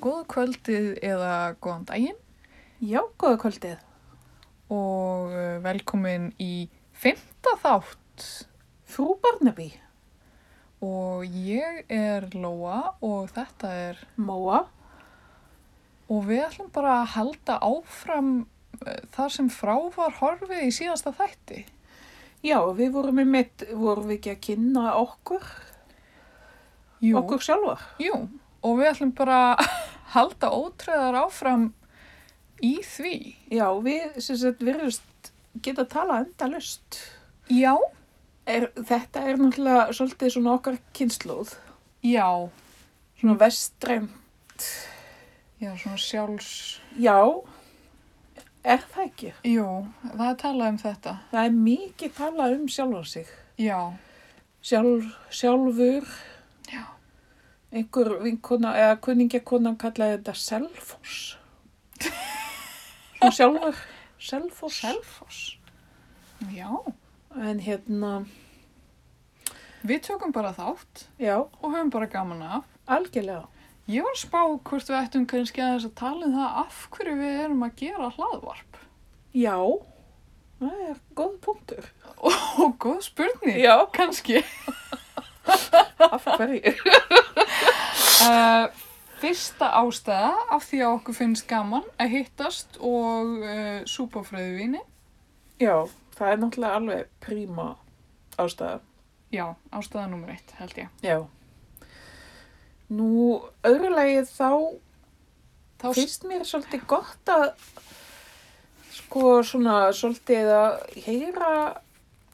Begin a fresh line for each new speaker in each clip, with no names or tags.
kvöldið eða góðan daginn
Já, góða kvöldið.
og eh, velkomin í fymta þátt
Frú Barnaby,
og ég er Lóa og þetta er
Móa,
og við ætlum bara að halda áfram eh, þar sem frá var horfið í síðasta þætti.
já, við vorum í mitt, vorum við ekki að kynna okkur,
Jú,
okkur sjálfar.
jú, og við ætlum bara að halda ótröðar áfram í því.
Já, við, sem sagt, virðust geta að tala enda lust.
Já,
Er, þetta er náttúrulega svolítið svona okkar kynnslóð,
já,
svona vestræmt.
já, svona sjálfs...
Já, er það ekki?
Jú, það er talað um þetta.
Það er mikið talað um sjálfan sig.
Já,
Sjálf, sjálfur.
Já.
Einhver vinkona, eða kunningakonan kallaði þetta selfos. Svo sjálfur. Selfos.
Selfoss. Já,
En hérna,
við tökum bara þátt
já,
og höfum bara gaman af.
algjörlega.
Ég var að spá hvort við ættum kannski aðeins að tala um það af hverju við erum að gera hlaðvarp.
Já, það er góð punktur.
Og góð spurning,
Já,
kannski.
af hverju?
Uh, fyrsta ástæða af því að okkur finnst gaman að hittast og uh, súpa fröðuvíni.
Já, það er náttúrulega alveg príma ástæða.
Já, ástæða nummer eitt held ég.
Já. Nú, öðru lagi þá
Þá s-
finnst mér svolítið gott að sko svona svolítið að heyra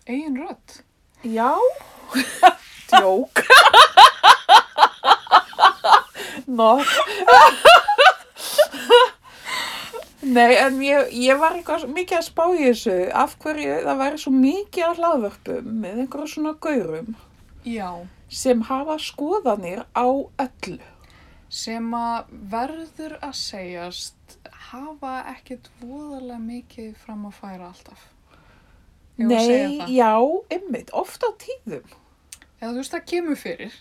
eigin rödd.
já djók not Nei, en ég, ég var eitthvað svo mikið að spá í þessu af hverju það væri svo mikið að hlaðvörpum með einhverju svona gaurum
Já,
sem hafa skoðanir á öllu.
sem að verður að segjast hafa ekkert voðalega mikið fram að færa alltaf. Ég var að segja
Nei,
það.
já, einmitt, oft á tíðum.
Eða þú veist, það kemur fyrir.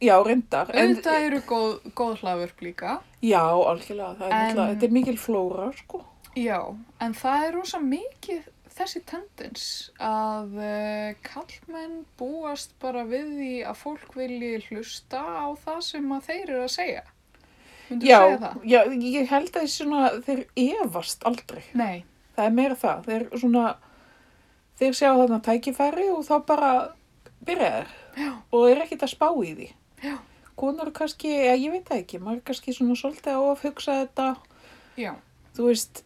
Já, reyndar. en-
Auðvitað eru góð, góð hlaðvörp líka.
Já, algjörlega, það er
En-
náttúrulega, þetta er mikil flóra, sko.
Já, en það er rosa mikið þessi tendens að uh, kallmenn búast bara við því að fólk vilji hlusta á það sem að þeir eru að segja. Myndur
Já,
segja það?
já, ég held að þeir svona, þeir efast aldrei.
Nei,
Það er meira það, þeir svona, þeir sjá þarna tækifæri og þá bara byrja þeir.
Já.
Og þeir eru ekkert að spá í því.
Já.
Konur er kannski, eða ég veit það ekki, maður er kannski svona svolítið á að hugsa þetta,
já,
þú veist,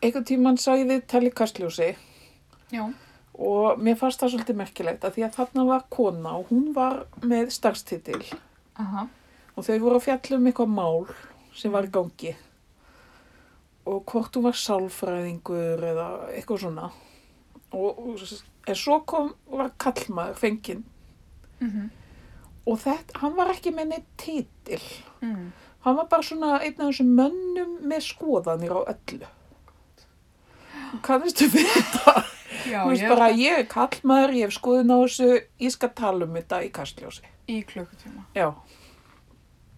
einhvern tímann sá ég við tali kastljósi
já,
og mér fannst það svolítið merkilegt að því að þarna var kona og hún var með starfstitil.
aha,
og þau voru að fjalla um eitthvað mál sem var í gangi og hvort hún var sálfræðingur eða eitthvað svona og, og en svo kom var kallmaður fenginn
mhm,
og þetta, hann var ekki með neitt títil
mm.
hann var bara svona einn af þessum mönnum með skoðanir á öllu kannistu við þetta
já,
þú veist
ég
bara
er
ég er kallmaður, ég hef skoðun á þessu ég skal tala um þetta í kastljósi
í klukkutíma.
já,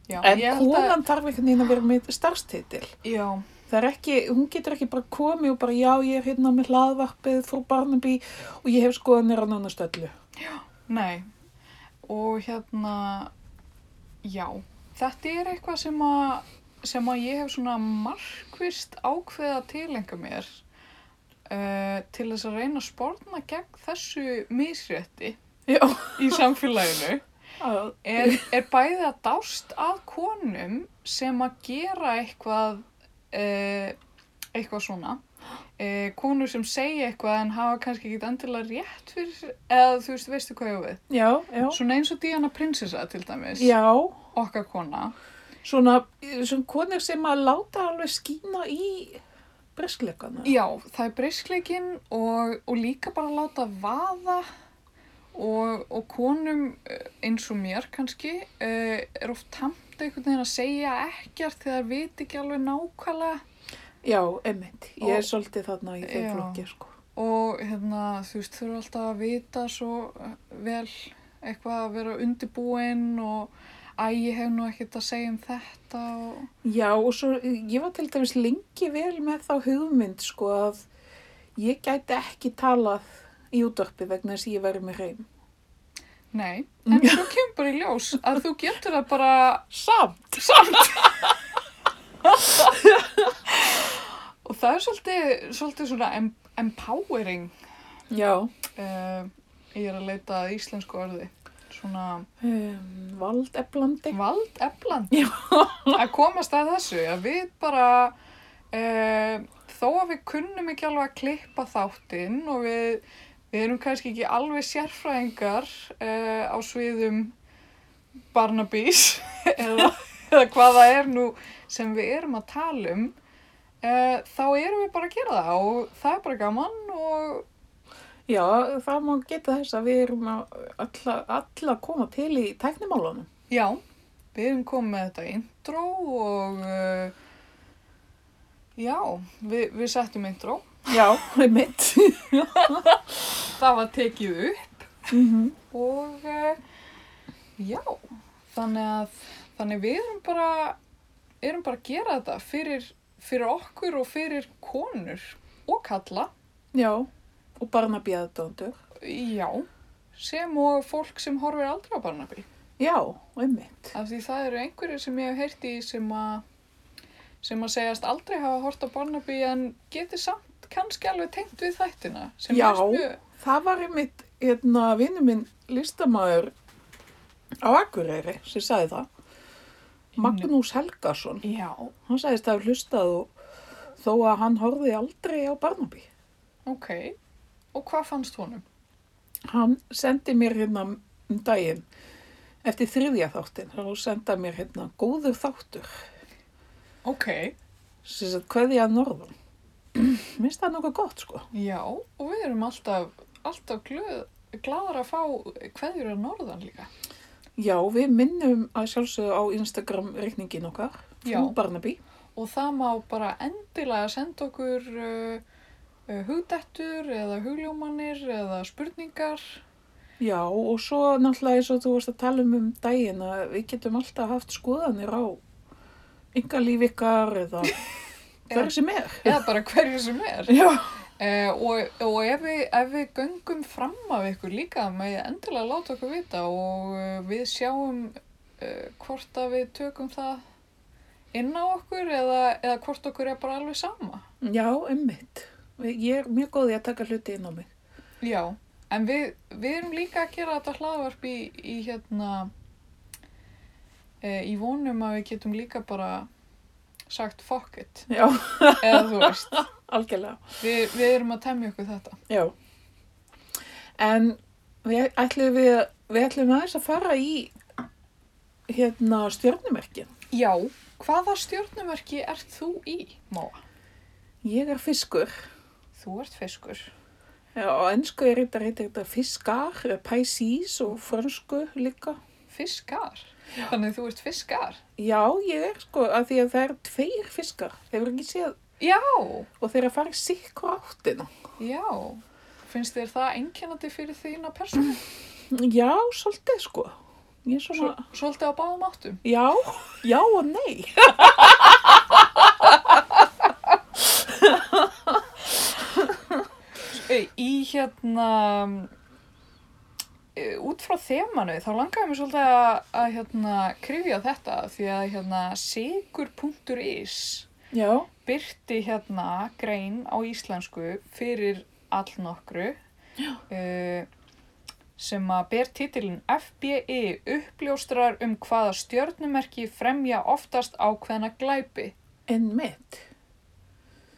Já,
en
ég held að,
konan þarf einhvern veginn að vera með starfstitil
já,
Það er ekki, hún getur ekki bara komið og bara já, ég er hérna með hlaðvarpið frú Barnaby og ég hef skoðanir á nánast öllu.
Nei, og hérna, já, þetta er eitthvað sem að, sem að ég hef svona markvist ákveða tilenga mér uh, til þess að reyna að spórna gegn þessu misrétti
Já.
í samfélaginu. Er, er bæði að dást að konum sem að gera eitthvað, uh, eitthvað svona. Uh, konur sem segja eitthvað en hafa kannski ekki endilega rétt fyrir, eða þú veist, veistu hvað ég á við.
Já, já.
Svona eins og Diana prinsessa til dæmis,
Já,
okkar kona.
svona, svona konur sem að láta alveg skína í briskleikana.
Já, það er briskleikinn og, og líka bara láta vaða og, og konum eh, eins og mér kannski eh, er oft tamt einhvern veginn að segja ekkert þegar veit ekki alveg nákvæmlega
Já, emmitt. Ég er
Og-
svolítið þarna í þeim
Já.
flokki, sko.
og hérna, þú veist, þurfa alltaf að vita svo eh, vel eitthvað að vera undibúinn og æ, ég hef nú ekkert að segja um þetta og...
Já, og svo ég var til dæmis lengi vel með þá hugmynd, sko, að ég gæti ekki talað í útvarpi vegna þess að ég væri með hreim.
Nei, en svo kemur bara í ljós að þú getur það bara
Samt!
og það er svolítið, svolítið svona em empowering
Já.
uh, ég er að leita að íslensku orði svona
Um, Valdeflandi.
vald efland
Já.
að komast að þessu að við bara uh, þó að við kunnum ekki alveg að klippa þáttinn og við, við erum kannski ekki alveg sérfræðingar uh, á sviðum Barnabys eða, eða hvað það er nú sem við erum að tala um uh, þá erum við bara að gera það og það er bara gaman og
Já, það má geta þess að við erum að alla, alla koma til í tæknimálunum.
já, við erum komið með þetta intro og uh, já, við, við settum intro
Já, einmitt.
það var tekið upp
mm -hmm.
og uh, já, þannig að þannig við erum bara erum bara að gera þetta fyrir, fyrir okkur og fyrir konur og kalla,
Já, og barnabíðadóndur.
já sem og fólk sem horfir aldrei á Barnaby
Já, einmitt.
af því það eru einhverjir sem ég hef heyrt í sem að sem að segjast aldrei hafa hort á Barnaby en geti samt kannski alveg tengt við þættina sem
Já.
er mjög,
Það var einmitt, hérna, vinnu minn listamaður á Akureyri sem sagði það. Mhm. Magnús Helgason,
já,
hann sagðist að hafa hlustað og þó að hann horfði aldrei á Barnaby.
ok og hvað fannst honum?
Hann sendi mér hérna um daginn eftir þriðja þáttin, þá sendi hann mér hérna góður þáttur,
ok,
sem sagt hverði að norðan. Minnst það nokkuð gott, sko.
Já, og við erum alltaf, alltaf glöð, gladur að fá hverjur að norðan líka.
Já, við minnum að sjálfsögðu á Instagram reikningin okkar,
Já.
frú Barnaby.
Og það má bara endilega senda okkur uh, uh, hugdettur eða hugljómanir eða spurningar.
Já, og svo náttúrulega eins og þú varst að tala um um daginn að við getum alltaf haft skoðanir á yngalíf ykkar eða hver sem er.
Eða bara hverju sem er.
Já.
Uh, og og ef, við, ef við göngum fram af ykkur líka með endilega láta okkur vita og uh, við sjáum uh, hvort að við tökum það inn á okkur eða, eða hvort okkur er bara alveg sama.
Já, einmitt. Ég er mjög góð í að taka hluti inn á mig.
Já, en við, við erum líka að gera þetta hlaðvarp í, í hérna e, í vonum að við getum líka bara sagt fuck it
Já,
eða þú veist,
algjörlega.
við, við erum að temja okkur þetta.
Já. En við ætlum, við, við ætlum aðeins að fara í hérna stjörnumerkin.
Já, hvaða stjórnumerki ert þú í, Móa?
Ég er fiskur.
Þú ert fiskur.
Já, á ennsku er þetta, heitir þetta fiskar, eða Pisces og frönsku líka.
Fiskar? Þannig þú ert fiskar?
Já, ég er sko, af því að það eru tveir fiskar, þeir eru ekki séð
Já,
og þeir eru að fara í sikkur áttina.
já. Finnst þér það einkennandi fyrir þína persónu?
Já, svolítið sko. Ég er
Svo,
svona,
svolítið á báðum áttum.
já, já og nei.
Ei, í hérna e, út frá þemanu þá langaði mér svolítið að, að hérna, krifja þetta því að hérna sigur.is
Já,
byrti hérna grein á íslensku fyrir allnokkru uh, sem að ber titilin FBI E, uppljóstrar um hvaða stjörnumerki fremja oftast ákveðna glæpi
en mitt.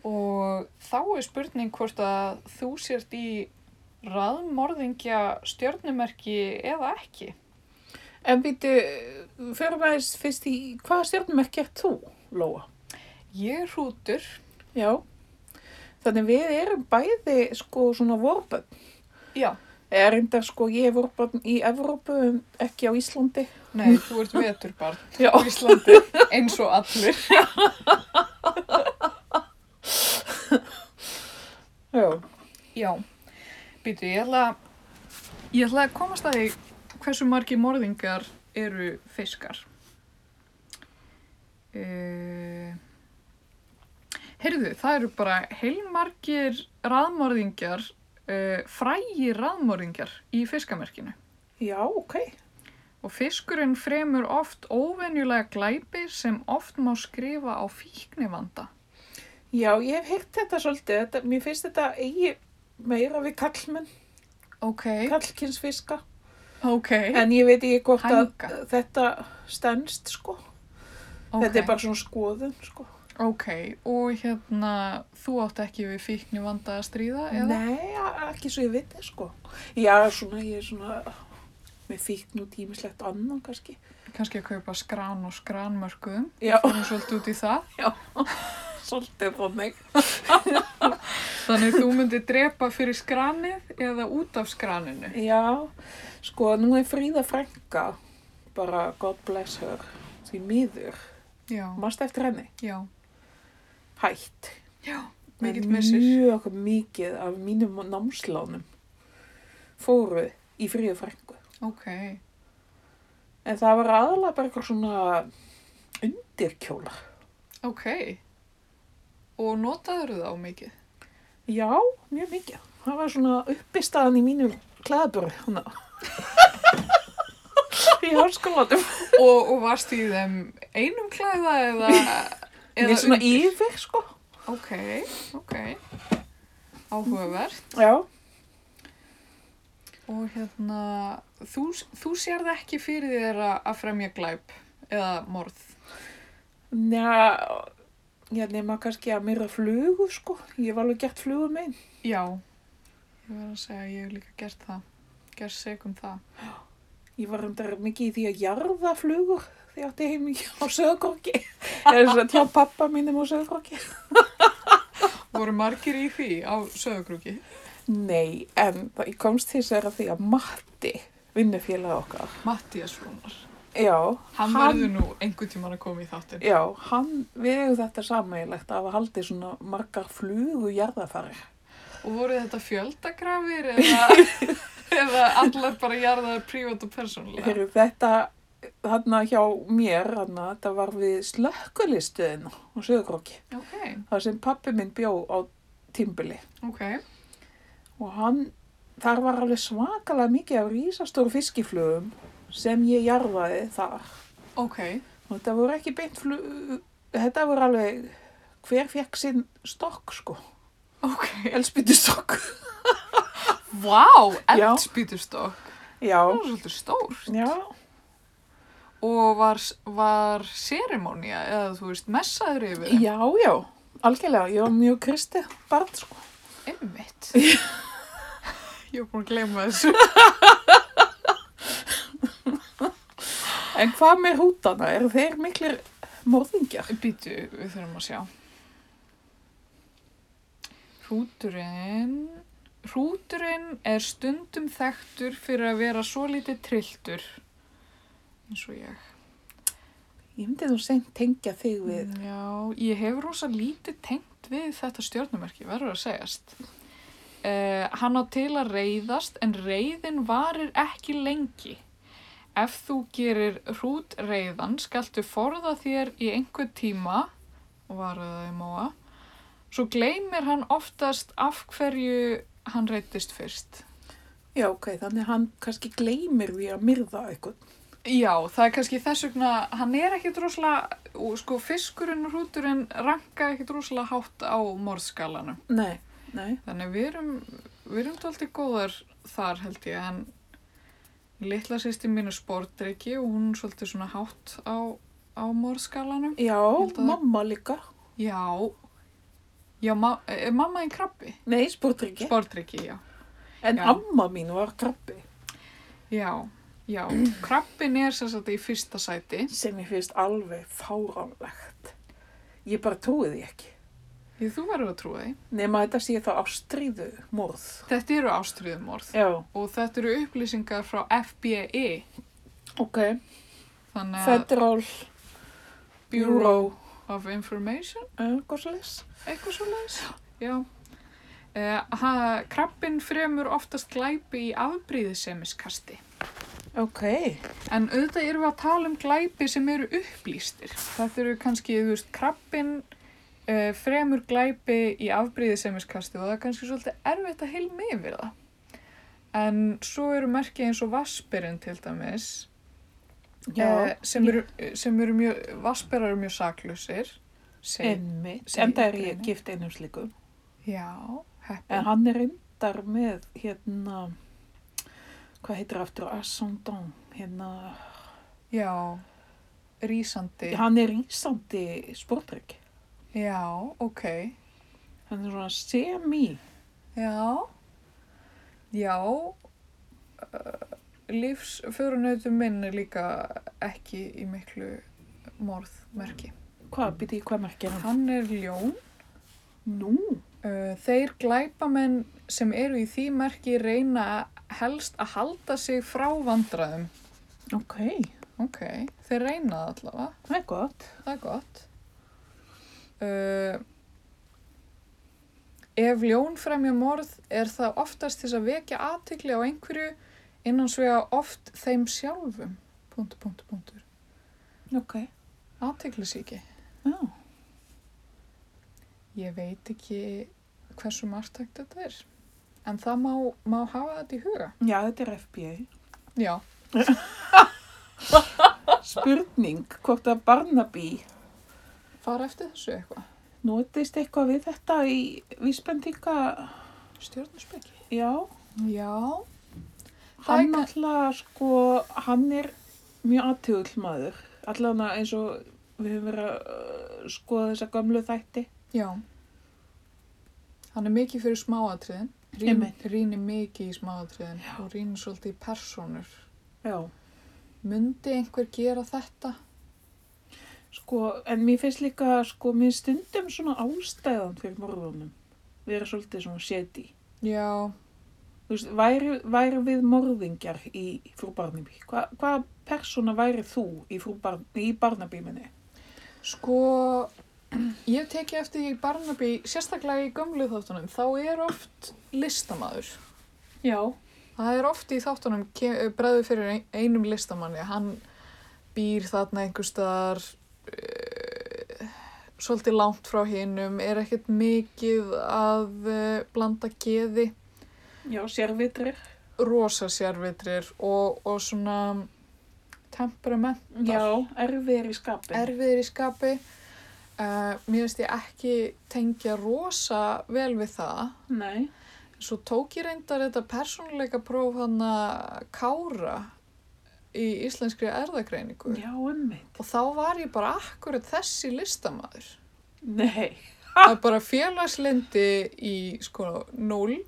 Og þá er spurning hvort að þú sért í raðmorðingja stjörnumerki eða ekki.
En býtu, fyrir aðeins fyrst í, hvaða stjórnumerki er þú, Lóa?
Ég er hrútur.
Já, þannig við erum bæði sko svona vorbönn.
Já.
Eða reyndar sko, ég er vorbönn í Evrópu, en ekki á Íslandi.
Nei, þú ert veturbarn
Já.
á Íslandi eins og allir.
Já.
Já. Býtu, ég ætla, ég ætla að komast að því hversu margi morðingar eru fiskar. Uh, heyrðu, það eru bara heilmargir raðmörðingjar, uh, frægir raðmörðingjar í fiskamerkinu.
Já, ok.
Og fiskurinn fremur oft óvenjulega glæpi sem oft má skrifa á fíknivanda.
Já, ég hef heyrt þetta svolítið. Þetta, mér finnst þetta eigi meira við kallmenn,
Ok,
kallkinsfiska.
ok,
En ég veit ekki hvort að
Hænga.
þetta stendst, sko. Þetta er bara svona skoðun, sko.
ok, og hérna, þú átt ekki við fíknivanda að stríða, eða?
Nei, a- ekki svo ég veit það, sko. Já, svona, ég er svona með fíkn og tímislegt annan, kannski.
Kannski að kaupa skrán og skránmörkuðum,
Já,
fórum svolítið út í það.
svolítið þannig.
Þannig þú myndir drepa fyrir skranið eða út af skraninu.
Já, sko, nú er Fríða frænka, bara God bless her, því miður.
Já,
Mást eftir henni?
já,
Hætt.
mikill
En
missir.
Mjög mikið af mínum námslánum fóru í Fríða frænku.
Ok,
En það var aðalega bara eitthvað svona undirkjólar.
ok. Og notaður þá mikið?
Já, mjög mikið. Það var svona uppistaðan í mínum klæðböru. Hana. í háskólanum.
Og, og varst í þeim einum klæða eða...
Mér svona
undir?
yfir, sko.
Ok, ok. Áhugavert.
Já.
Og hérna, þú, þú sérð ekki fyrir þér að- að fremja glæp eða morð.
Njá, hérna, ég nema kannski að myrra flugu, sko. Ég var alveg gert flugu megin.
Já, ég verð að segja að ég hef líka gert það. Gert segum það.
Ég var undar mikið í því að jarða flugur því ég átti heim í á söðkorki. Eða þess að tjá pappa mínum á söðkorki.
Voru margir í því á söðugrúki?
Nei, en það, ég komst því sér að því að Matti, vinnufélag okkar,
Mattias Rúnar.
Já,
Hann, verður nú einhvern tíman að koma í þáttin.
já, hann við eigum þetta sammeilegt að hafa haldið svona margar flugu jarðafarir.
Og voru þetta fjöldagrafir eða, eða allar bara jarðaður prívat og persónulega?
Heru, þetta, þarna hjá mér, þarna, þetta var við slökkulistuðin á Söðurkróki,
Ok,
þar sem pappi minn bjó á Timbili
ok.
og hann, þar var alveg svakalega mikið af rísastóru fiskiflugum sem ég jarðaði þar.
Ok,
Og þetta voru ekki beint flug, þetta voru alveg, hver fekk sinn stokk sko,
ok.
elspýtustokk.
Vá,
Já.
eldspýtustokk.
Já,
Það var svolítið stórt.
já.
Og var, var serimónia eða þú veist messaður yfir þeim?
Já, já, algjörlega, ég var mjög kristið barn, sko.
Einmitt. Ég er búin að gleyma þessu.
En hvað með hútana? Eru þeir miklir morðingjar?
Býtu, við þurfum að sjá. Hrúturinn... Hrúturinn er stundum þekktur fyrir að vera svo litið trilltur. Eins og ég.
Ég myndi þú seint tengja þig við.
Já, ég hef rosa lítið tengt við þetta stjórnumerki, verður að segjast. Uh, hann á til að reyðast en reyðin varir ekki lengi. Ef þú gerir hrút reyðan skaltu forða þér í einhver tíma, varuðaði móa, svo gleymir hann oftast af hverju hann reytist fyrst.
Já, ok, þannig hann kannski gleymir því að myrða eitthvað.
Já, það er kannski þess vegna, hann er ekkit rosalega, og sko fiskurinn og hrúturinn ranka ekkit rosalega hátt á morðskalanum.
Nei, nei.
Þannig við erum, við erum tóltið góðar þar held ég, en litla sýsti mín er sportreiki og hún er svolítið svona hátt á, á morðskalanum.
Já,
held að-
mamma líka.
Já, já, ma er mamma einn krabbi?
Nei, sportryggi.
Sportreiki, já.
En
já.
amma mín var krabbi,
Já, já, krabbin er sem sagt í fyrsta sæti.
sem ég finnst alveg fáránlegt. Ég bara trúi því ekki.
Ég, þú verður að trúa því.
Nefn þetta sé þá ástríðu morð.
Þetta eru ástriðumorð.
Já,
og þetta eru upplýsingar frá FBI
ok.
þannig að
Federal
Bureau
Bureau.
of Information
Uh, hvað svo leys?
eitthvað svo leiðis já eh, ha, krabbin fremur oftast glæpi í afbríðisemiskasti
Ok,
En auðvitað erum við að tala um glæpi sem eru upplýstir. Þetta eru kannski, þú veist, krabbin uh, fremur glæpi í afbríði semiskastu og það er kannski svolítið erfitt að heilmi yfir það. En svo eru merkið eins og vaspirinn til dæmis,
já,
eh, sem, eru, sem eru mjög, vaspirar eru mjög saklusir. Sem,
einmitt.
segi
Enda er
ég
ég
greini.
gift einum slíkum.
já,
En
heppin.
hann er reyndar með, hérna, hvað heitir aftur, Ascendant, hérna,
Já, rísandi.
hann er ísandi sportrygg.
Já, ok.
Hann er svona semi,
Já, já, uh, lífsförunautu minn er líka ekki í miklu morðmerki.
hvað, byrja ég hvað merkir hann?
Hann er ljón.
Nú,
Uh, þeir glæpamenn sem eru í því merki reyna helst að halda sig frá vandræðum.
ok,
Ok, þeir reyna það allavega,
það er gott.
það er gott. Uh, Ef ljón fremja morð er það oftast til þess að vekja aðtikli á einhverju innan svega oft þeim sjálfum. Puntur, puntur, puntur.
Ok,
Aðtiklisíki.
já,
Ég veit ekki hversu margtækt þetta er. En það má, má hafa þetta í huga.
já, þetta er FBI.
Já,
Spurning hvort að Barnaby
fara eftir þessu eitthvað.
notist eitthvað við þetta í vísbendinga,
Stjórnarspeki.
já,
Já. Það
hann
er-
alltaf sko, hann er mjög aðtjóðl maður, allan að eins og við höfum verið að uh, skoða þessa gömlu þætti.
Já. Hann er mikið fyrir smáatriðin.
Einmitt.
Rýnir mikið í smáatriðin og rýnir svolítið í persónur.
Já,
Myndi einhver gera þetta?
sko, en mér finnst líka, sko, mér finnst stundum svona ástæðan fyrir morðunum vera svolítið svona shady.
Já,
Þú veist, væri, væri við morðingjar í frú Barnaby? Hva, hvaða persóna væri þú í, frú Bar, í Barnaby minni?
sko, ég hef tekið eftir því í Barnaby, sérstaklega í gömlu þáttunum, þá er oft listamaður.
Já.
Það er oft í þáttunum ke- bregður fyrir ein- einum listamanni. Hann býr þarna einhver staðar, uh, svolítið langt frá hinum, er ekkert mikið að uh, blanda geði.
Já, sérvitrir.
rosa sérvitrir og, og svona temperament
Já, erfiðir í skapin.
erfiðir í skapi uh, mér finnst ég ekki tengja rosa vel við það
Nei.
svo tók ég reyndar þetta persónuleika próf hann að kára í íslenskri erðagreiningu
Já, einmitt.
og þá var ég bara akkurat þessi listamaður
Nei.
það er bara félagslindi í sko 0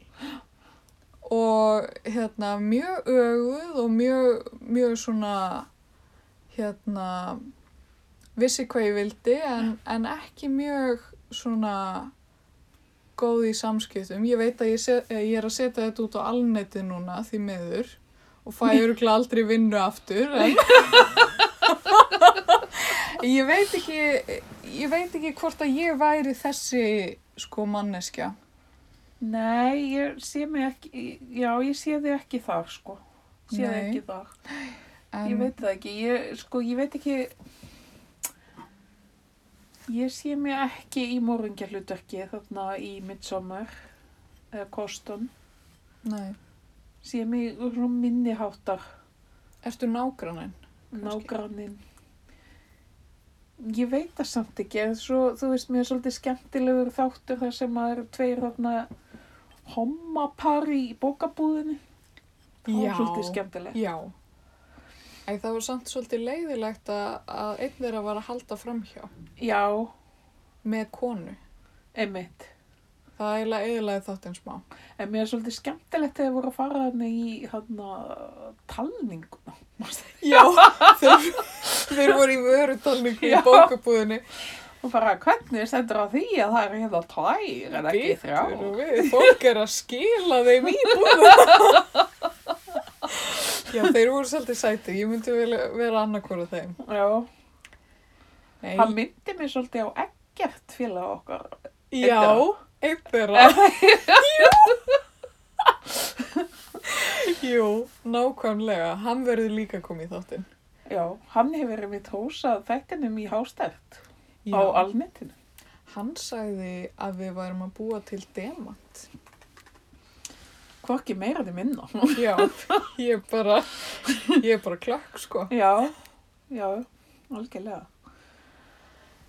og hérna mjög öguð og mjög, mjög svona hérna vissi hvað ég vildi en, en ekki mjög svona góð í samskiptum. Ég veit að ég, set, ég er að setja þetta út á alneti núna því meður og fæ örgulega aldrei vinnu aftur en ég veit ekki ég veit ekki hvort að ég væri þessi sko manneskja
Nei, ég sé mig ekki, já, ég sé þig ekki þar, sko. Sé þig
Nei.
ekki þar.
en,
Ég veit það ekki, ég, sko, ég veit ekki, ég sé mig ekki í morungjarlutverki þarna í midsommar, eða kostun,
Nei,
sé mig svona minniháttar
ertu nágrannin? Kannski.
nágranninn. Ég veit það samt ekki, en svo, þú veist, mér er svolítið skemmtilegur þáttur þar sem maður er tveir þarna hommapar í bókabúðinni. Það var svolítið skemmtilegt.
Já. Æ, það var samt svolítið leiðilegt að, að einn þeirra var að halda framhjá
Já,
með konu.
einmitt.
Það eiginlega eiginlega þátt einn smá.
En mér er svolítið skemmtilegt þegar voru að fara þarna í þarna talninguna. manstu?
Já, þeir, þeir voru í vörutalningu
Já.
í bókabúðinni.
Og bara, hvernig stendur á því að það er hérna tvær en ekki
Bitur
þrjá?
og við, fólk er að skila þeim í búðina. Já, þeir voru svolítið sæti. Ég myndi vel vera annarkvora þeim.
Já,
Nei,
hann myndi mér svolítið á ekkert félag okkar.
já, einn þeirra. Jú, nákvæmlega. Hann verður líka komið í þáttinn.
Já, hann hefur einmitt hósað þættinum í hástært
Já.
á alnetinu.
Hann sagði að við værum að búa til demant.
Hvorki meira þið minna.
Já, ég bara, ég er bara klökk sko.
Já, já, algjörlega.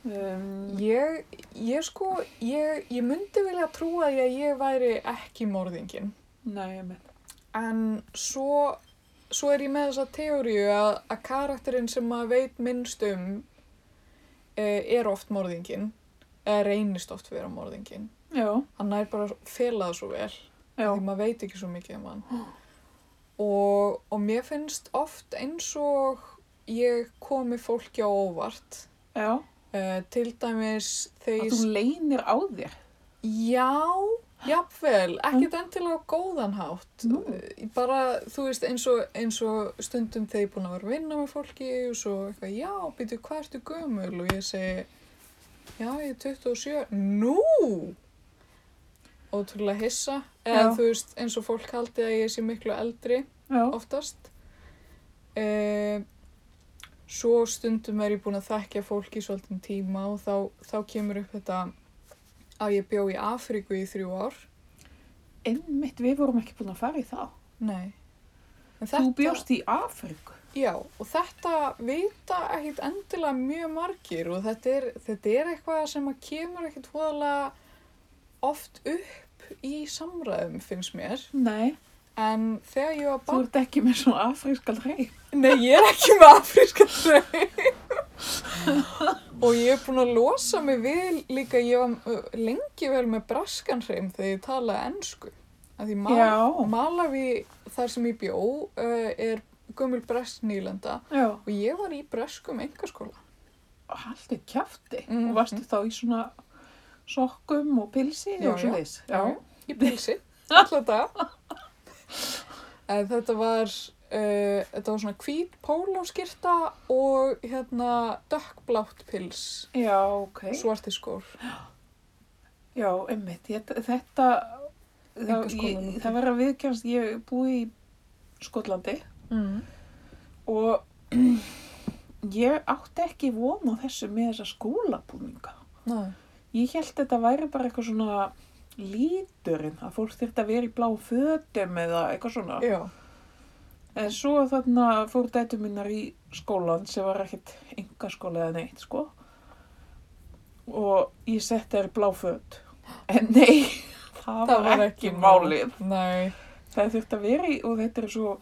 Um,
Ég, ég sko, ég, ég myndi vilja trúa því að ég væri ekki morðingin.
nei, ég með.
En svo, svo er ég með þessa teóriu að, að karakterinn sem maður veit minnst um eh, er oft morðingin. Eða reynist oft vera morðingin.
Já,
Hann er bara felað svo vel.
já,
því maður veit ekki svo mikið um hann. Og, og mér finnst oft eins og ég komi fólki á óvart.
já.
Uh, til dæmis
Að
þegar
þú
ég...
leynir á þér.
Já, jafnvel, ekkert endilega á góðan hátt.
Nú.
Eh, Bara, þú veist, eins og, eins og stundum þegar ég er búin að vera að vinna með fólki og svo eitthvað, já, býtu, hvað ertu gömul? Og ég segi, já, ég er 27. Nú! Ótrúlega hissa. Eða
Já.
þú veist, eins og fólk haldi að ég sé miklu eldri
Já,
oftast. Eh, svo stundum er ég búin að þekkja fólk í svolítinn tíma og þá, þá kemur upp þetta að ég bjó í Afríku í þrjú ár.
einmitt við vorum ekki búin að fara í það.
Nei. En
Þú bjóst í Afríku.
Já, og þetta vita ekkit endilega mjög margir og þetta er, þetta er eitthvað sem að kemur ekkit hóðalega oft upp í samræðum, finnst mér.
Nei,
En þegar ég var
þú
barn...
ert ekki með svona afrískal hreif.
Nei, ég er ekki með afríska draug. og ég er búin að losa mig við líka, ég var uh, lengi vel með braskan hreim þegar ég talaði ennsku. Því mal,
Já.
Malawi, þar sem ég bjó, uh, er gömul bresk nýlenda
Já.
og ég var í breskum engaskóla.
Haldi kjafti.
Mhm.
Og varstu þá í svona sokkum og pilsi
Já,
og svo
já.
þess. Já.
Í pilsi, alltaf það. En þetta var, uh, þetta var svona hvít pólóskirta og hérna dökkblátt pils,
Já, ok.
svarti skór.
Já, einmitt. Ég, þetta, það,
Einhvers konar
ég,
notið.
það verður að viðkjast, ég búi í Skotlandi
Mm.
og ég átti ekki von á þessu með þessa skólabúninga.
Nei.
Ég held þetta væri bara eitthvað svona líturinn, að fólk þyrfti að vera í blá fötum eða eitthvað svona.
Já,
En svo þarna fór dætu minnar í skólan sem var ekkert enga skóla eða neitt, sko. Og ég setti þær í blá föt. En nei, það, var, ekki málið.
Nei.
Það þurfti að vera í, og þetta er svo,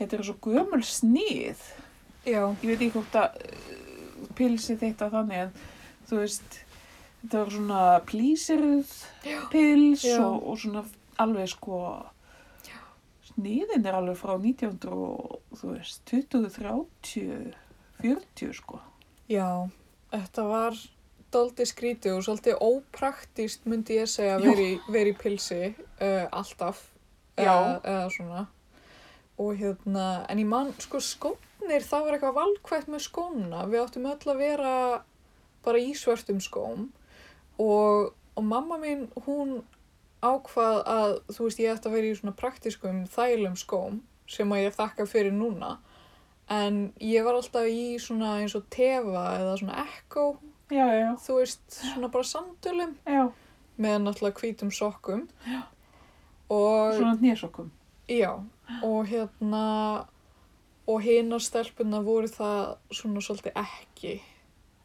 þetta er svo gömul snið.
Já,
Ég veit ekki hvort að uh, pilsi þetta þannig, en þú veist, þetta var svona plísiruð pils
Já.
og, og svona alveg sko, sniðin er alveg frá 1900 og þú veist, 20, 30, 40 sko.
já. Þetta var daldið skrítið og svolítið ópraktíst myndi ég segja að
Já.
vera í, vera í pilsi uh, alltaf.
Já.
Eða, eða svona. Og hérna, en ég man, sko skónir, það var eitthvað valkvætt með skóna. Við áttum öll að vera bara í svörtum skóm og, og mamma mín, hún ákvað að, þú veist, ég ætti að vera í svona praktískum þælum skóm sem að ég þakka fyrir núna en ég var alltaf í svona eins og tefa eða svona ekko
Já, já,
þú veist, svona bara sandölum
já,
með náttúrulega hvítum sokkum og
svona hnésokkum.
já, og hérna og hinar stelpuna voru það svona svolítið ekki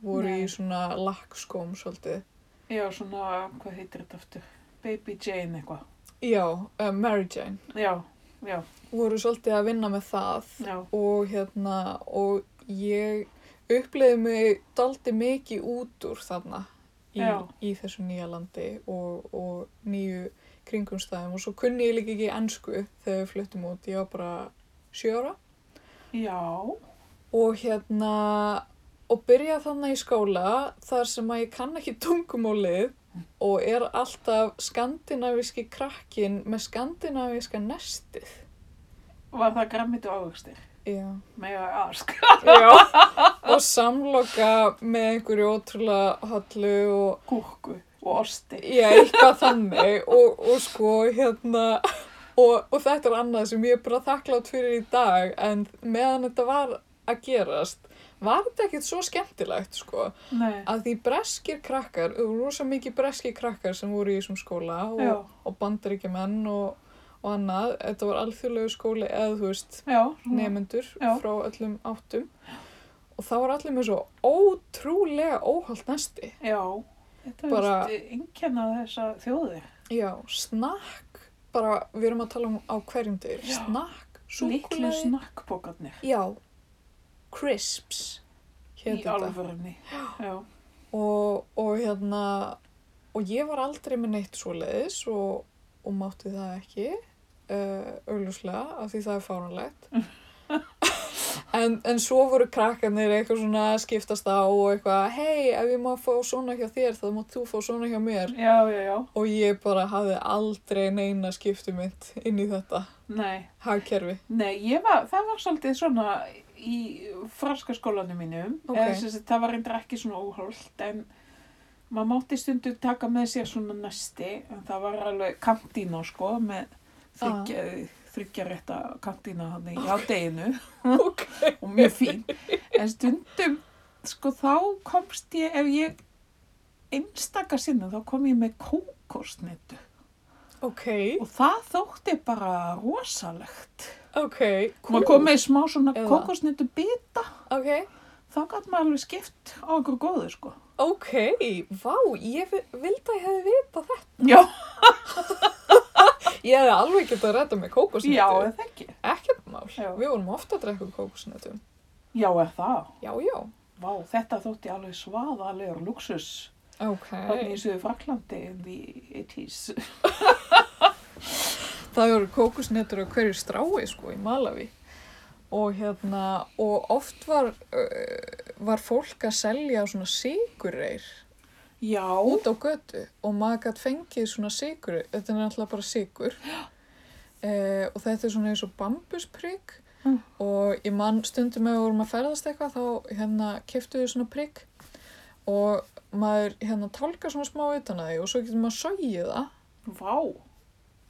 voru
Nei.
í svona lakkskóm svolítið
Já, svona, hvað heitir þetta aftur? Baby Jane eitthvað.
já, uh, Mary Jane
Já, já,
voru svolítið að vinna með það
já.
og hérna og ég uppleiði mig daldi mikið út úr þarna í,
Já.
í þessu nýja landi og, og nýju kringumstæðum og svo kunni ég líka ekki ennsku þegar við fluttum út, ég var bara sjöra
Já,
og hérna og byrja þarna í skóla þar sem að ég kann ekki tungumólið og er alltaf skandinavíski krakkin með skandinavíska nestið.
var það græmmitu ávegstir?
Já.
Mega ask.
Já, og samloka með einhverju ótrúlega hollu og
Gúrku og osti.
já, eitthvað þannig og, og sko hérna og, og þetta er annað sem ég er bara þakklátt fyrir í dag en meðan þetta var að gerast var þetta ekkert svo skemmtilegt sko
Nei.
að því breskir krakkar, það voru rosa mikið breskir krakkar sem voru í þessum skóla
Já.
og, og bandaríkjumenn og, og annað, þetta var alþjóðlegu skóli eða þú veist
Já.
nefnendur
Já.
frá öllum áttum og það var allir með svo ótrúlega óhald næsti
Já. Þetta
Bara-
er einkenna þessa þjóði.
Já, snakk, bara við erum að tala um á hverjum degir,
Já.
snakk,
Líklu
súkulæði,
snakkbókarnir.
já, crisps,
Í
hétt þetta.
alvörunni. Já.
Og, og hérna, og ég var aldrei með neitt svoleiðis og, og mátti það ekki, uh, augljóslega, af því það er fáranlegt. en, en svo voru krakkanir eitthvað svona að skiptast á og eitthvað, hei, ef ég má fá svona hjá þér, þá mátt þú fá svona hjá mér.
Já, já, já.
Og ég bara hafði aldrei neina skiptumynd inn í þetta
Nei.
hagkerfi.
Nei, ég var, það var svolítið svona í franska skólanum mínum.
Ok.
Eða, sem sagt, það var reyndar ekki svona óholt en maður mátti stundu taka með sér svona næsti en það var alveg kantína sko með
Ah.
þryggja, þryggja rétta kantína hann í hádeginu
Ok.
og mjög fín. En stundum, sko þá komst ég, ef ég einstaka sinnum, þá kom ég með kókosnetu
Ok,
og það þótti bara rosalegt.
ok,
Maður kom með smá svona
Eða-
kókosnetu bita,
ok,
þá gæti maður alveg skipt á okkur góðu, sko.
ok, vá, ég vi- vildi að ég hefði vitað þetta.
Já,
Ég hefði alveg getað að redda með kókosnötu.
já, eða það ekki.
Ekkert mál,
Já.
við vorum ofta að drekka kókosnötum.
Já, eða það.
Já, já,
Vá, þetta þótti alveg svaðalegur luxus.
ok.
Þannig í Suður Fraklandi in the 80s.
Það voru kókusnetur á hverju strái sko í Malawi og hérna og oft var, uh, var fólk að selja svona sigurreir
Já,
út á götu og maður gætt fengið svona sigur, þetta er náttúrulega bara sigur eh, og þetta er svona eins og bambusprygg
Mm.
og ég man stundum ef við vorum að ferðast eitthvað þá hérna keftu við svona prygg og maður hérna tálka svona smá utan að því og svo getur maður sögið það
vá.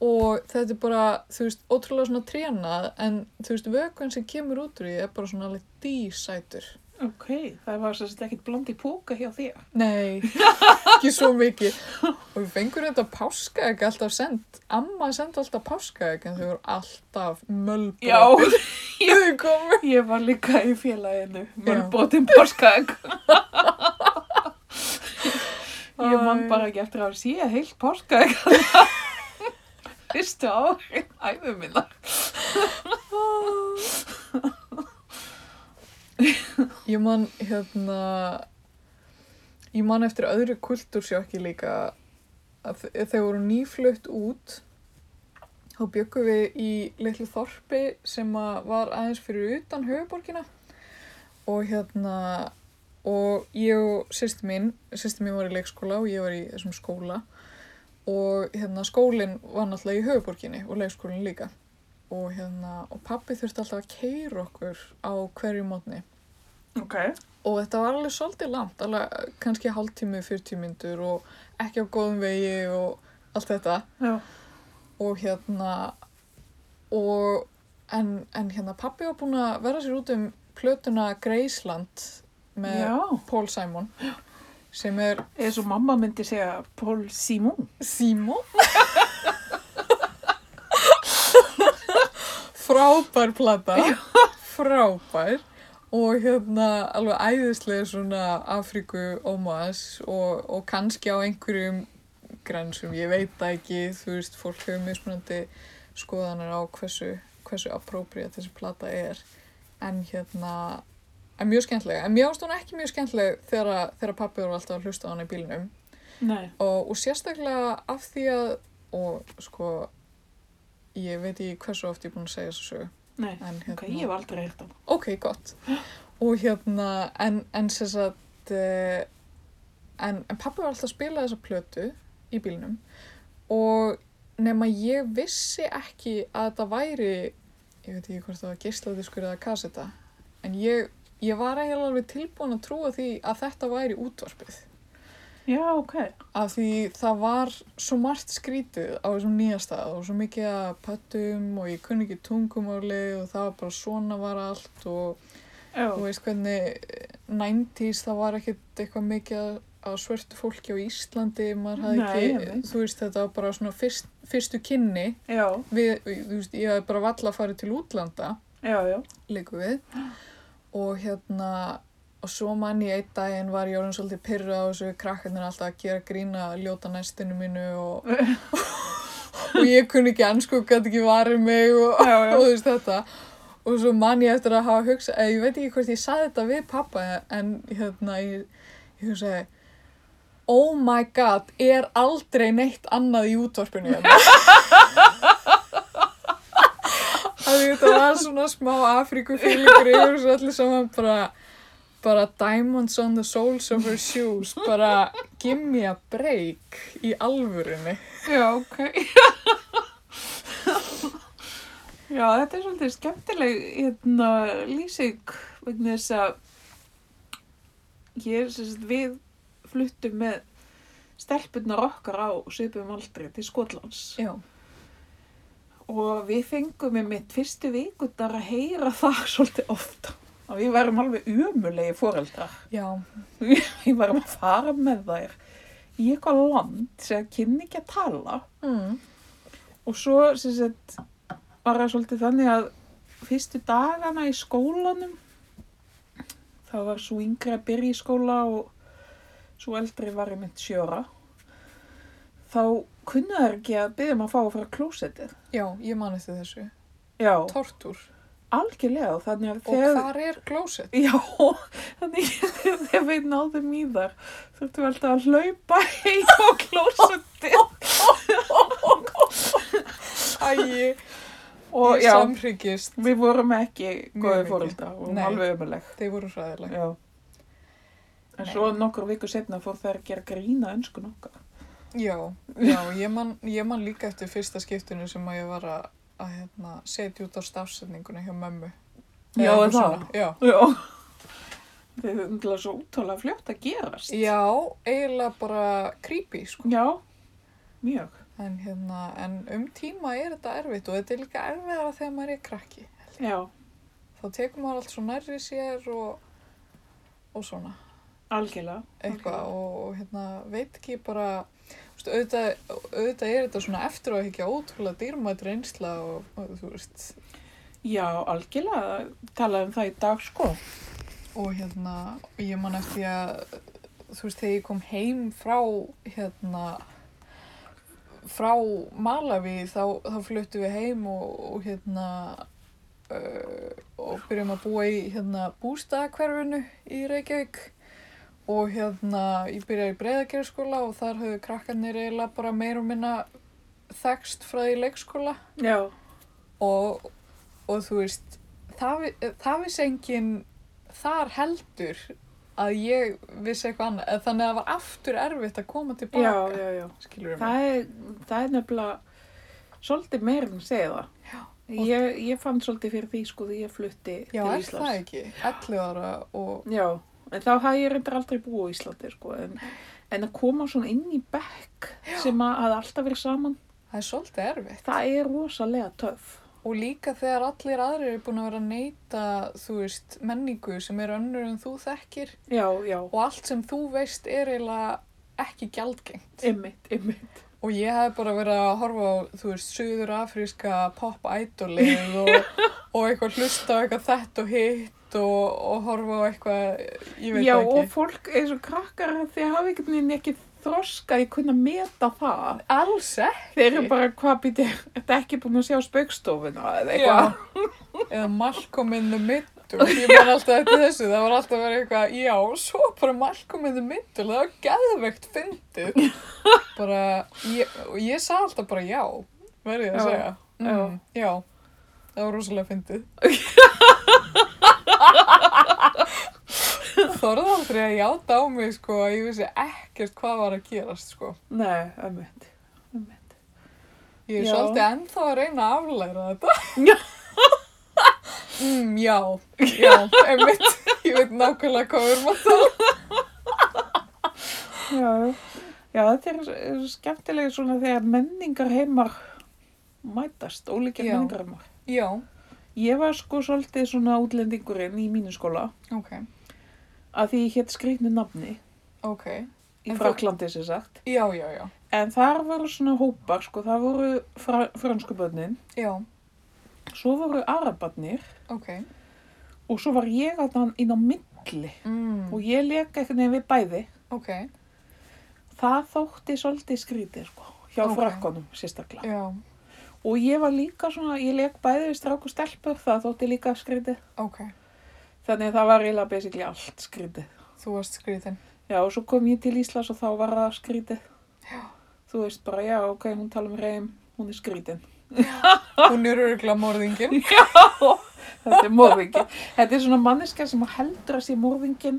og þetta er bara, þú veist, ótrúlega svona trénað en þú veist, vökun sem kemur út úr því er bara svona alveg dísætur
Ok, það var sérst ekkert blandi póka hjá þér.
Nei, ekki svo mikið. Og við fengum þetta páskaegg alltaf send. Amma sendi alltaf páskaegg en þau voru alltaf mölbröð. þau komu.
ég var líka í félaginu. Mölbrotin páskaegg. Ég man
Æ.
bara ekki eftir að sé heilt páskaegg. Fyrstu ári, æfum minna.
Ég man, hérna, ég man eftir öðru kultúrsjokki líka að þe- þau voru nýflutt út. Þá byggum við í litlu þorpi sem að var aðeins fyrir utan höfuborgina og hérna og ég og sýsti mín, sýsti mín var í leikskóla og ég var í þessum skóla og hérna skólinn var náttúrulega í höfuborginni og leikskólinn líka og hérna og pappi þurfti alltaf að keira okkur á hverju mótni
Ok.
og þetta var alveg svolítið langt, alveg eh, kannski hálftími, 40 myndur og ekki á góðum vegi og allt þetta
Já.
og hérna og en, en hérna pappi var búinn að vera sér út um plötuna Graceland með
Já.
Paul Simon sem er
Eða svo mamma myndi segja Paul Simon.
Simon frábær plata frábær og hérna alveg æðislega svona Afríku ómas og, og kannski á einhverjum grensum, ég veit það ekki þú veist, fólk hefur mismunandi skoðanir á hversu, hversu appropriate þessi plata er en hérna, en mjög skemmtilega en mér ást hún ekki mjög skemmtileg þegar, þegar pappi voru alltaf að hlusta á hana í bílnum
Nei.
og, og sérstaklega af því að og sko ég veit ekki hversu oft ég er búin að segja þessu sögu
Nei.
en
Ok,
hérna,
ég hef aldrei hirt hann.
ok, gott og hérna, en, en sem sagt eh, en, en pappi var alltaf að spila þessa plötu í bílnum og nema ég vissi ekki að þetta væri ég veit ekki hvort það var geisladiskur eða kaseta en ég, ég var eiginlega alveg tilbúin að trúa því að þetta væri útvarpið
Já, ok.
Af því það var svo margt skrítið á þessum nýja stað og svo mikið að pöttum og ég kunni ekki tungumáli og það var bara svona var allt og
Já,
þú veist hvernig eh, 90s það var ekkit eitthvað mikið að- að svörtu fólki á Íslandi, maður hafði
Nei,
ekki,
einmitt.
þú veist þetta var bara svona fyrst, fyrstu kynni
já,
við, þú veist, ég hafði bara valla að fara til útlanda
já, já.
líku við og hérna og svo mann í einn daginn var ég orðin svolítið pyrra á þessu krakkarnir alltaf að gera grína ljóta næstinu mínu og, og ég kunni ekki ansku gæti ekki varið mig og,
Já,
og
já.
þú veist þetta og svo mann ég eftir að hafa hugsa eða ég veit ekki hvort ég saði þetta við pappa en hérna ég, ég hugsaði oh my god er aldrei neitt annað í útvarpinu hérna að þetta var svona smá Afrikufílingur yfir þessu allir saman bara bara diamonds on the soles of her shoes bara give me a break í alvörunni
Já, ok. Já, þetta er svolítið skemmtileg hérna, lýsing vegna þess að ég er sem sagt við fluttum með stelpunar okkar á svipum aldri til Skotlands
já,
og við fengum með mitt fyrstu vikundar að heyra það svolítið ofta að við værum alveg umulegi foreldrar
já,
við værum að fara með þær í eitthvað land sem kynni ekki að tala
mm.
Og svo sem sagt, var það svolítið þannig að fyrstu dagana í skólanum, þá var svo yngri að byrja í skóla og svo eldri var ég mynd sjöra, þá kunnu þær ekki að byrja um að fá að fara á klósettið.
já, ég man eftir þessu
Já,
tortur,
algjörlega og þannig að
og hvar er klósett?
Já, þannig að þegar við náðum í þar þurftum við alltaf að hlaupa heim á klósettið
Æ,
og
ég
já,
samhryggist
við vorum ekki
Mjög
góði
mikið.
fóreldra og vorum
Nei.
alveg ömuleg.
þeir voru hræðilega
Já. En
Nei.
svo nokkur viku setna fór þær að gera grína önsku nokkar.
já, já, ég man, ég man líka eftir fyrsta skiptinu sem að ég var að, að hérna, setja út á stafsetninguna hjá mömmu
Já,
Eða
er
eitthvað
það?
svona, já
Já. Þau er umtlað svo úttálega fljótt að gerast.
Já, eiginlega bara creepy, sko.
Já, mjög.
En, hérna, en um tíma er þetta erfitt og þetta er líka erfiðara þegar maður er krakki.
Já,
Þá tekur maður allt svo nærri sér og, og svona,
algjörlega.
eitthvað.
Algjörlega.
Og, og hérna, veit ekki bara, þú veist, auðvitað, auðvitað er þetta svona eftir og ekki ótrúlega dýrmætt reynsla og, og þú veist,
Já, algjörlega. Talaði um það í dag sko.
og hérna, og ég man eftir því að, þú veist, þegar ég kom heim frá, hérna, frá Malawi þá, þá fluttum við heim og, og hérna, uh, og byrjum að búa í, hérna, bústaðakverfinu í Reykjavík og hérna, ég byrjaði í breyðagerðskóla og þar höfðu krakkarnir eiginlega bara meir og minna þekst frá því leikskóla
Já.
og, og þú veist það, vi- það vissi enginn þar heldur að ég vissi eitthvað annað eða þannig að það var aftur erfitt að koma
Já,
tilbaka
já, já.
skilur við mig
Það er, það er nefnilega svolítið meira en segja það.
Og-
Ég, ég fann svolítið fyrir því sko því ég flutti
já,
til
er
Íslands.
það ekki, 11 ára og
Já, en þá hafði ég reyndar aldrei búið á Íslandi, sko, en, en að koma svona inn í bekk sem að hafði alltaf verið saman,
það er svolítið erfitt
það er rosalega töf.
og líka þegar allir aðrir eru búin að vera að neyta þú veist, menningu sem er önnur en þú þekkir
Já, já,
og allt sem þú veist er eiginlega ekki gjaldgengt
ymmit, ymmit.
Og ég hef bara verið að horfa á, þú veist, söður afríska pop-idolið og, og eitthvað hlusta á eitthvað þetta og hitt og, og horfa á eitthvað, ég veit
Já,
það
og
ekki.
fólk eins og krakkar þeir hafa einhvern veginn ekki þroska í kunna meta það.
Alls ekki.
Þeir eru bara, hvað býtir, þetta er ekki búin að sjá spaukstofuna eða eitthvað.
Eða Malcolm in the Middle, ég man alltaf eftir þessu, það var alltaf verið eitthvað, já, svo bara Malcolm in the Middle, það var geðveikt fyndið. Bara, ég, og ég sagði alltaf bara já, verðið
Já,
að segja. Mm, já, það var rosalega fyndið. Þorði aldrei að játa á mig, sko, að ég vissi ekkert hvað var að gerast, sko.
Nei, ymmit, ymmit.
Ég er
Já.
svolítið ennþá að reyna að aflæra þetta.
Já.
mm, já, já, einmitt. Ég veit nákvæmlega hvað við erum að tala.
já, já. já, þetta er eh, skemmtilega svona þegar menningar heimar mætast, ólíkja
Já.
menningar heimar.
Já,
Ég var sko svolítið svona útlendingurinn í mínu skóla
ok,
að því ég hétt skrýtnu nafni
ok.
í
En þú-
Fraklandi sem sagt.
Já, já, já,
En þar voru svona hópar, sko, það voru fra, fransku börnin,
já,
svo voru arabarnir
ok.
og svo var ég að hann inn á milli
Mm,
og ég leik eitthvað nefn við bæði.
ok,
Það þótti svolítið skrítið, sko, hjá
Ok.
okay. frakkonum sérstaklega.
já,
Og ég var líka svona, ég leik bæði við strák og stelpur, það þótti líka skrítið.
ok.
Þannig að það var eiginlega basically allt skrítið.
Þú varst skriðin.
Já, og svo kom ég til Íslands og þá var það skrítið.
Já.
Þú veist bara, já, ok, hún tala um reym, hún er skrítin.
Hún er örgla morðingin.
Þetta er morðingin. Þetta er svona manneska sem heldur að sé morðingin,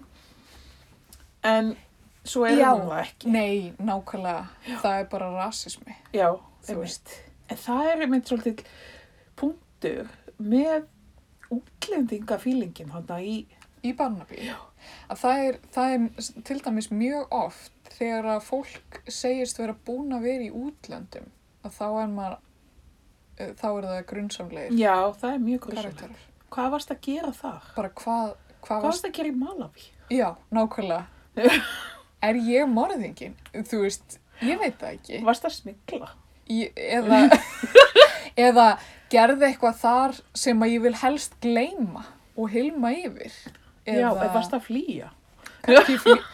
en svo er
Já.
hún það ekki.
Nei, nákvæmlega. Það er bara rasismi.
Já,
Þú
þú veist. En það er einmitt svolítið punktur með útlendingafílingin þarna í,
í Barnaby að það er, það er til dæmis mjög oft þegar að fólk segist vera búin að vera í útlöndum að þá er maður eh, þá er það grunnsamlegir
já, það er mjög grunnsamlega.
karakterar
Hvað varst að gera þar?
bara hvað, hvað
Hvað
varst
varst að gera í Malawi?
já, nákvæmlega er ég morðingin, þú veist ég veit það ekki
Varst að smigla?
ég, eða, eða gerði eitthvað þar sem að ég vil helst gleyma og hilma yfir
Já, eða varst að flýja?
kannski, flý-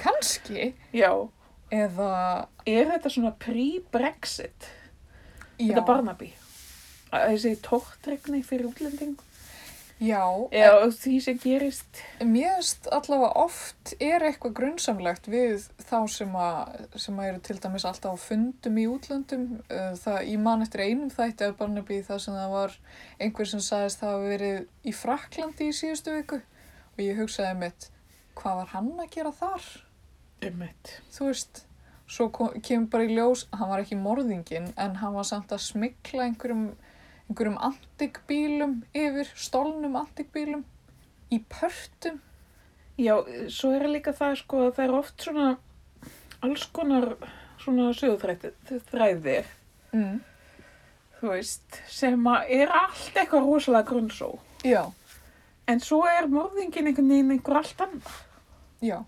kannski
Já.
eða
Er þetta svona pre-Brexit?
já,
Þetta Barnaby? Að Þessi tóttregni fyrir útlending?
já,
Já, og því sem gerist.
en mér finnst allavega oft er eitthvað grunnsamlegt við þá sem að, sem að eru til dæmis alltaf á fundum í útlöndum Eh, það, ég man eftir einum þætti af Barnaby þar sem það var einhver sem sagðist það hafa verið í Fraklandi í síðustu viku og ég hugsaði mitt hvað var hann að gera þar
Ummitt.
þú veist svo kom, kemur bara í ljós, hann var ekki morðingin en hann var samt að smikla einhverjum einhverjum antikbílum yfir, stolnum antikbílum í pörtum
Já, svo er líka það sko að það er oft svona alls konar svona sögutræðir,
mm.
þú veist, sem að er allt eitthvað rosalega grunnsó.
já,
En svo er morðingin einhvern veginn einhver allt annar.
já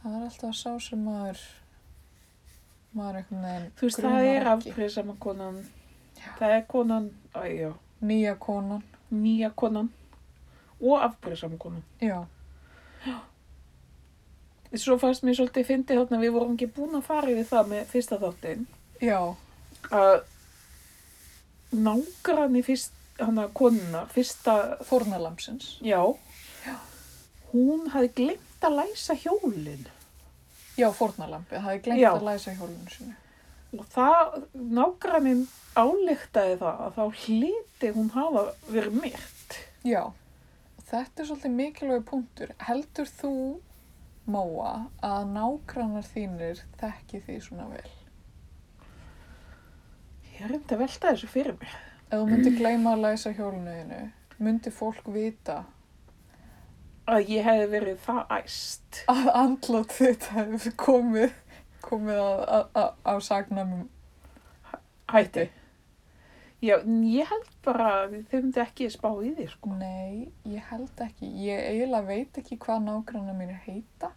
það er alltaf sá sem maður maður einhvern veginn
Þú veist, það
grunar
er
ekki.
afbrýðsama konan, það er konan, æjá,
nýja konan,
nýja konan og afbrýðsama konan.
já,
Svo fannst mér svolítið fyndið þarna, við vorum ekki búin að fara yfir það með fyrsta þáttinn,
já
að nágranni fyrst, hana konuna, fyrsta,
fórnalamsins,
já, hún hafði glemt að læsa hjólinn
já fórnalambið það er glemt
Já.
að læsa hjólunum sinu
og það, nágrannin álíktaði það að þá hliti hún hafa verið myrt.
Já, þetta er svolítið mikilvæg punktur. Heldur þú, Móa, að nágrannar þínir þekki því svona vel?
Ég er reyndi að velta þessu fyrir mér.
Ef þú myndir gleyma að læsa hjólunniðinu, myndir fólk vita
Að ég hefði verið það æst.
að andlat þitt hefur komið, komið að, að, að, að sagnamum?
Hætti. Já, en ég held bara að þau myndi ekki spá í því, sko.
Nei, ég held ekki. Ég eiginlega veit ekki hvað nágrannar mínir heita.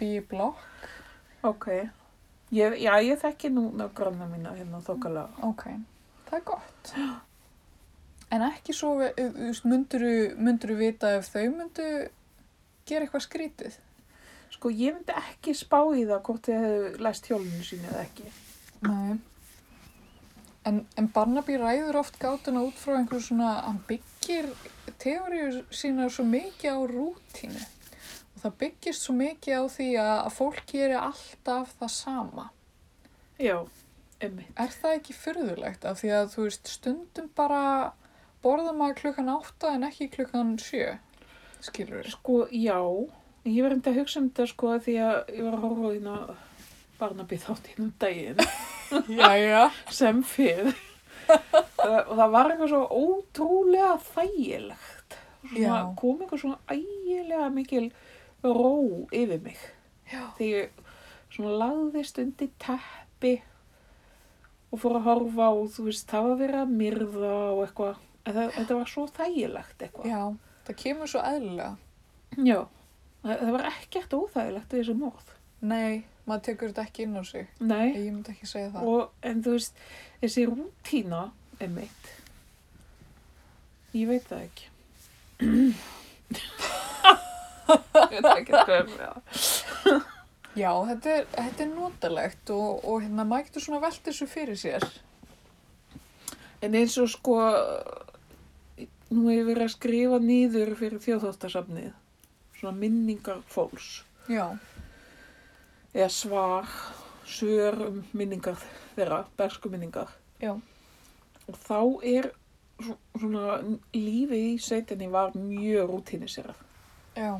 Bí í blokk,
Ok. Ég, já, ég þekki nú nágranna mína hérna þokkalega.
ok. Það er gott. En ekki svo, ve- þú veist, myndirðu, myndirðu vita ef þau myndu gera eitthvað skrítið?
Sko, ég myndi ekki spá í það hvort þið hefðu læst hjólinu sínu eða ekki.
Nei. En, en Barnaby ræður oft gátuna út frá einhverju svona, hann byggir teóriur sína svo mikið á rútínu. Og það byggist svo mikið á því að, að fólk gerir alltaf það sama.
Já, emmi.
Er það ekki fyrðulegt af því að þú veist stundum bara borða maður klukkan átta en ekki klukkan sjö, skilur við?
Sko, já. Ég var reyndi að hugsa um þetta, sko, af því að ég var að horfa á þína barnabíð þátt hérna um daginn
Jæja.
sem fyrr. Uh, og það var eitthvað svo ótrúlega þægilegt. Svona,
Já.
kom eitthvað svona ægilega mikil ró yfir mig.
Já.
þegar ég svona lagðist undir teppi og fór að horfa og þú veist, það var verið að myrða og eitthvað, En það- þetta var svo þægilegt eitthvað.
Já, það kemur svo eðlilega.
Já. Það, það var ekkert óþægilegt við þessu morð.
Nei, maður tekur þetta ekki inn á sig.
Nei.
Ég myndi ekki segja það.
og, en þú veist, þessi rútína er mitt ég veit það ekki ég veit ekki hvað er með það
Já, þetta er, þetta er notalegt og, og hérna, maður getur svona velt þessu fyrir sér.
en eins og sko nú hefur verið að skrifa nýður fyrir þjóðþóttasafnið svona minningar fólks
Já,
eða svar svör um minningar þeirra, bersku minningar
já,
og þá er svo- svona lífið í sveitinni var mjög rútíniserað
já,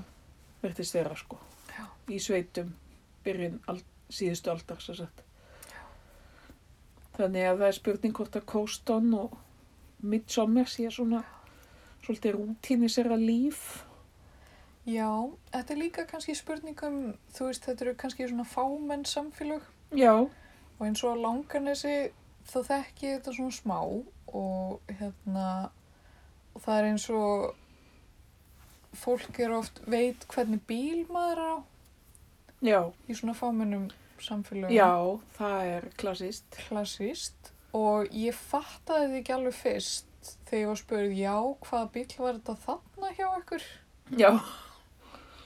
virtist þeirra sko
Já.
í sveitum byrjun ald, síðustu aldar sem sagt. þannig að það er spurning hvort að Kóston og Midsommar sé svona svolítið rútíni sér að líf
já. Þetta er líka kannski spurningum, þú veist, þetta eru kannski svona fámenn samfélög
já,
og eins og á langanesi þá þekki ég þetta svona smá og hérna, og það er eins og fólk er oft veit hvernig bíl maður er á
já,
í svona fámennum samfélögum.
já það er klassist
klassíst og ég fattaði þið ekki alveg fyrst þegar ég var spurð já, hvaða bíl var þetta þarna hjá ykkur?
já,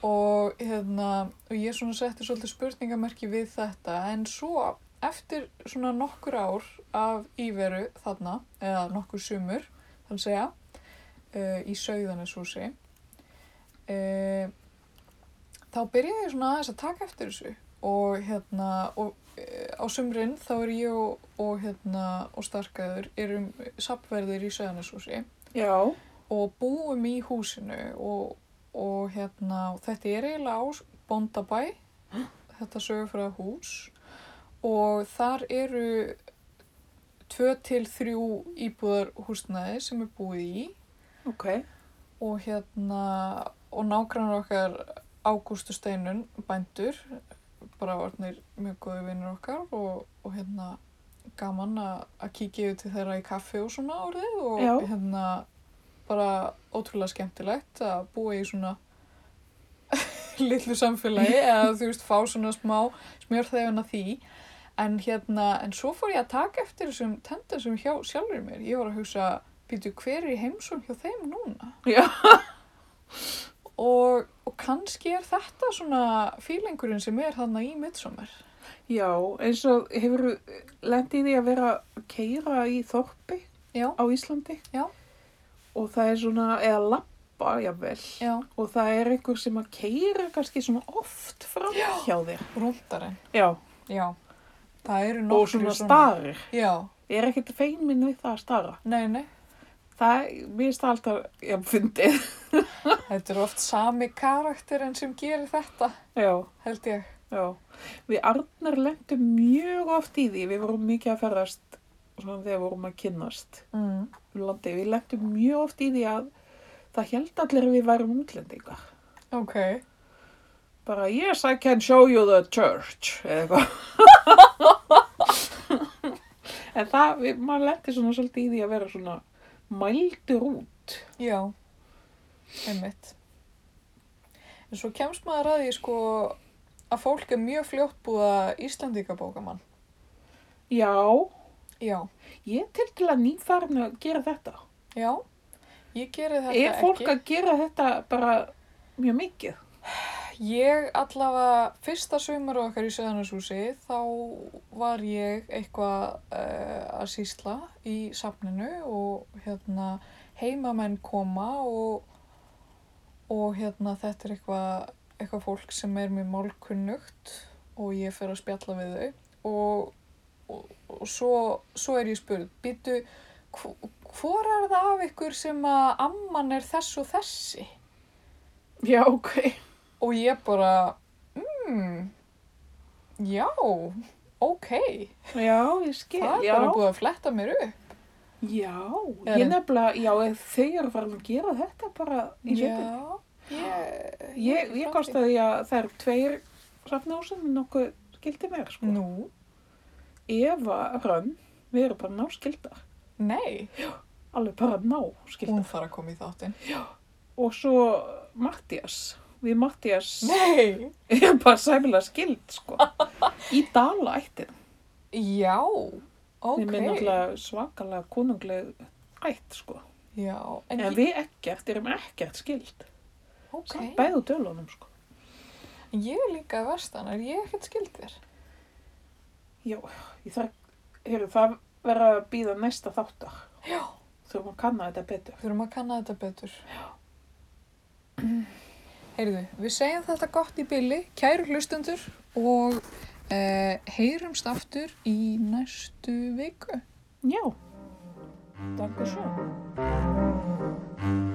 Og, hérna, og ég svona setti svolítið spurningamerki við þetta en svo eftir svona nokkur ár af íveru þarna, eða nokkur sumur, þannig segja, uh, í Sauðanessúsi, uh, þá byrjaði ég svona aðeins að taka eftir þessu og hérna, og eh, á sumrin þá er ég og, og hérna, og starkaður erum sapverðir í Sauðanessúsi
já
og búum í húsinu og, og hérna, og þetta er eiginlega á Bóndabæ, þetta sögufræða hús og þar eru tvö til þrjú íbúðar húsnæði sem er búið í
ok,
og hérna, og nágrannar okkar Ágústu Steinun, bændur, bara orðnir mjög góði vinnur okkar og, og hérna gaman að að kíkja yfir til þeirra í kaffi og svona orðið og
Já.
hérna bara ótrúlega skemmtilegt að búa í svona litlu samfélagi eða þú veist fá svona smá smjörþefin að því en hérna, en svo fór ég að taka eftir þessum tendensum hjá sjálfur mér ég var að hugsa, býtu hver er í heimsum hjá þeim núna?
Já.
og, og kannski er þetta svona fílingurinn sem er þarna í midsommar
já eins og hefur lendið því að vera að keira í þorpi
já,
á Íslandi
Já.
og það er svona, eða lappa jafnvel
já,
og það er einhver sem að keira kannski svona oft fram hjá þér.
rúndarinn
Já,
já, það eru
og
nokkru
svona starir.
já,
Ég er ekkert feimin við það að stara.
nei, nei
Það, mér er það alltaf, já, fyndið.
Þetta er oft sami karakterinn sem gerir þetta,
Já,
held ég.
já. Við Arnar lendum mjög oft í því. Við vorum mikið að ferðast svona þegar við vorum að kynnast
Mm.
um landi. Við lendum mjög oft í því að það held allir að við værum útlendingar.
Ok.
Bara, yes, I can show you the church, eða eitthvað. en það, við, maður lendi svona svolítið í því að vera svona mældur út.
Já. Einmitt. En svo kemst maður að því sko að fólk er mjög fljótt búið að Íslandingabókamann.
Já,
Já.
ég er til til að nýfarn að gera þetta.
Já. Ég geri þetta
er fólk
ekki.
að gera þetta bara mjög mikið?
Ég allavega fyrsta sömur okkar í Söðanarshúsi þá var ég eitthvað uh, að sýsla í safninu og hérna heimamenn koma og, og hérna þetta er eitthvað, eitthvað fólk sem er mér málkunnugt og ég fer að spjalla við þau og, og, og svo, svo er ég spurð, býtu, hvor er það af ykkur sem að amman er þess og þessi?
Já, ok.
Og ég bara, mm, já, ok,
Já, ég skil.
það er
já,
bara búið að fletta mér upp.
já,
Eða-
ég nefnilega, já, ef þau eru farin að gera þetta bara í sveitinni.
Já, ég,
Ég, ég komst að því að það eru tveir Hrafnásinn er nokkuð skildi mér, sko.
Nú?
Eva Rönn, við erum bara náskildar.
Nei.
Alveg bara náskildar.
Hún þarf að koma í þáttinn.
Og svo Mattias, við Mattias
Nei.
erum bara sæmilega skild, sko. Í Dala ættin.
Já. Ok.
Þeim er náttúrulega svakalega konungleg ætt, sko.
Já. En,
En,
en
við ekkert erum ekkert skild.
ok.
Okay. Bæðu dölunum, sko.
Ég er líka verstanar, ég er ekkert skild þér.
Já, ég þarf, heyrðu, það verður að býða næsta þáttar.
Já.
Þurfum að kanna þetta betur.
Þurfum að kanna þetta betur. Já. Heyrðu, við segjum þetta gott í bylli, kæru hlustundur og eh, heyrumst aftur í næstu viku.
Já. Takk og svo.